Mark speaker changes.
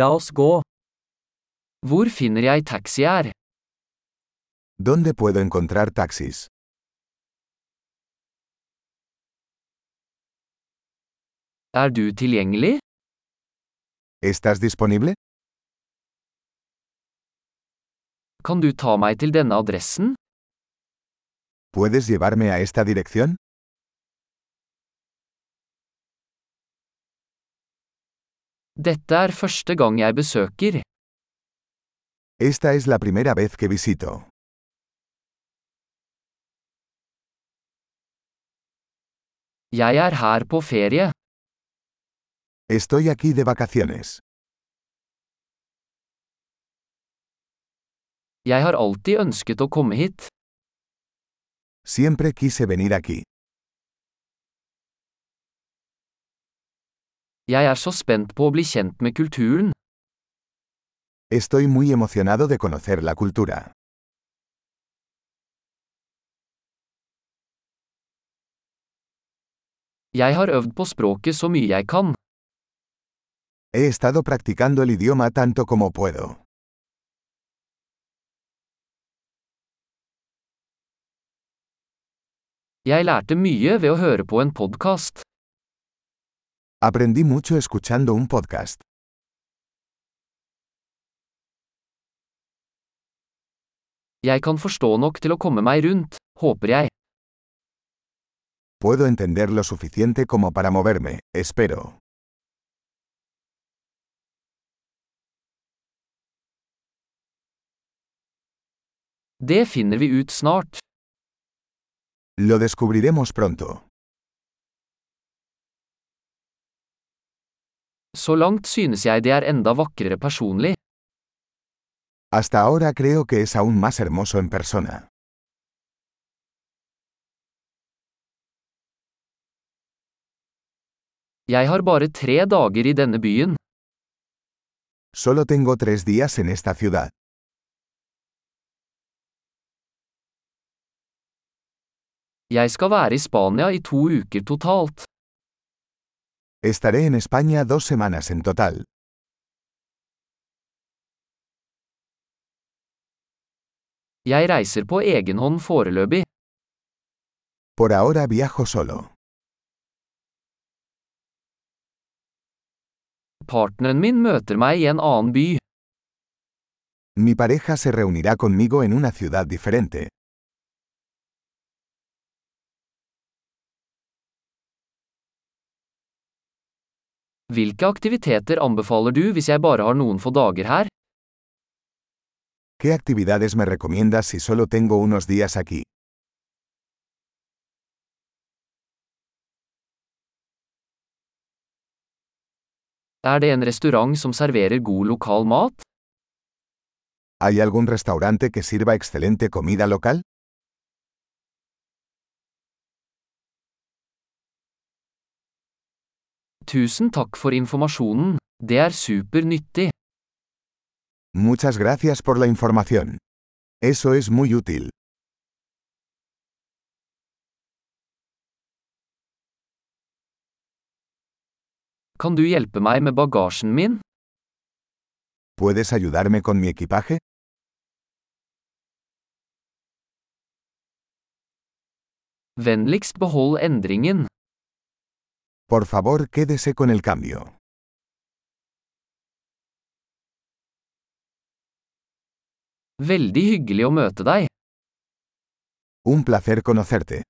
Speaker 1: La oss gå. Hvor finner jeg taxi her?
Speaker 2: ¿Dónde puedo encontrar taxis?
Speaker 1: Er du tilgjengelig?
Speaker 2: ¿Estás disponible?
Speaker 1: Kan du ta meg til denne adressen?
Speaker 2: ¿Puedes llevarme a esta dirección?
Speaker 1: Dette er første gang jeg besøker.
Speaker 2: Esta es la primera vez que visito.
Speaker 1: Jeg er her på ferie.
Speaker 2: Estoy aquí de vacaciones.
Speaker 1: Jeg har alltid ønsket å komme hit.
Speaker 2: Siempre quise venir aquí.
Speaker 1: Jeg er så spent på å bli kjent med kulturen.
Speaker 2: Estoy muy emocionado de conocer la cultura.
Speaker 1: Jeg har øvd på språket så mye jeg kan.
Speaker 2: He estado practicando el idioma tanto como puedo.
Speaker 1: Jeg lærte mye ved å høre på en podkast.
Speaker 2: Aprendí mucho escuchando un podcast.
Speaker 1: Jeg kan forstå nok til å komme meg rundt, håper jeg.
Speaker 2: Puedo entender lo suficiente como para moverme, espero.
Speaker 1: Det finner vi ut snart.
Speaker 2: Lo descubriremos pronto.
Speaker 1: Så langt synes jeg det er enda vakrere personlig.
Speaker 2: Hasta ahora creo que es aún más hermoso en persona.
Speaker 1: Jeg har bare tre dager i denne byen.
Speaker 2: Solo tengo tres días en esta ciudad.
Speaker 1: Jeg skal være i Spania i to uker totalt.
Speaker 2: Estaré en España dos semanas en total.
Speaker 1: Jeg reiser på egen hånd foreløpig.
Speaker 2: Por ahora viajo solo.
Speaker 1: Partneren min møter meg i en annen by.
Speaker 2: Mi pareja se reunirá conmigo en una ciudad diferente.
Speaker 1: Hvilke aktiviteter anbefaler du hvis jeg bare har noen få dager her?
Speaker 2: ¿Qué actividades me recomiendas si solo tengo unos días aquí?
Speaker 1: Er det en restaurant som serverer god lokal mat?
Speaker 2: ¿Hay algún restaurante que sirva excelente comida local?
Speaker 1: Tusen takk for informasjonen. Det er super nyttig.
Speaker 2: Muchas gracias por la información. Eso es muy útil.
Speaker 1: Kan du hjelpe meg med bagasjen min?
Speaker 2: ¿Puedes ayudarme con mi equipaje?
Speaker 1: Vennligst behold endringen.
Speaker 2: Por favor, quédese con el cambio.
Speaker 1: Veldig hyggelig å møte deg.
Speaker 2: Un placer conocerte.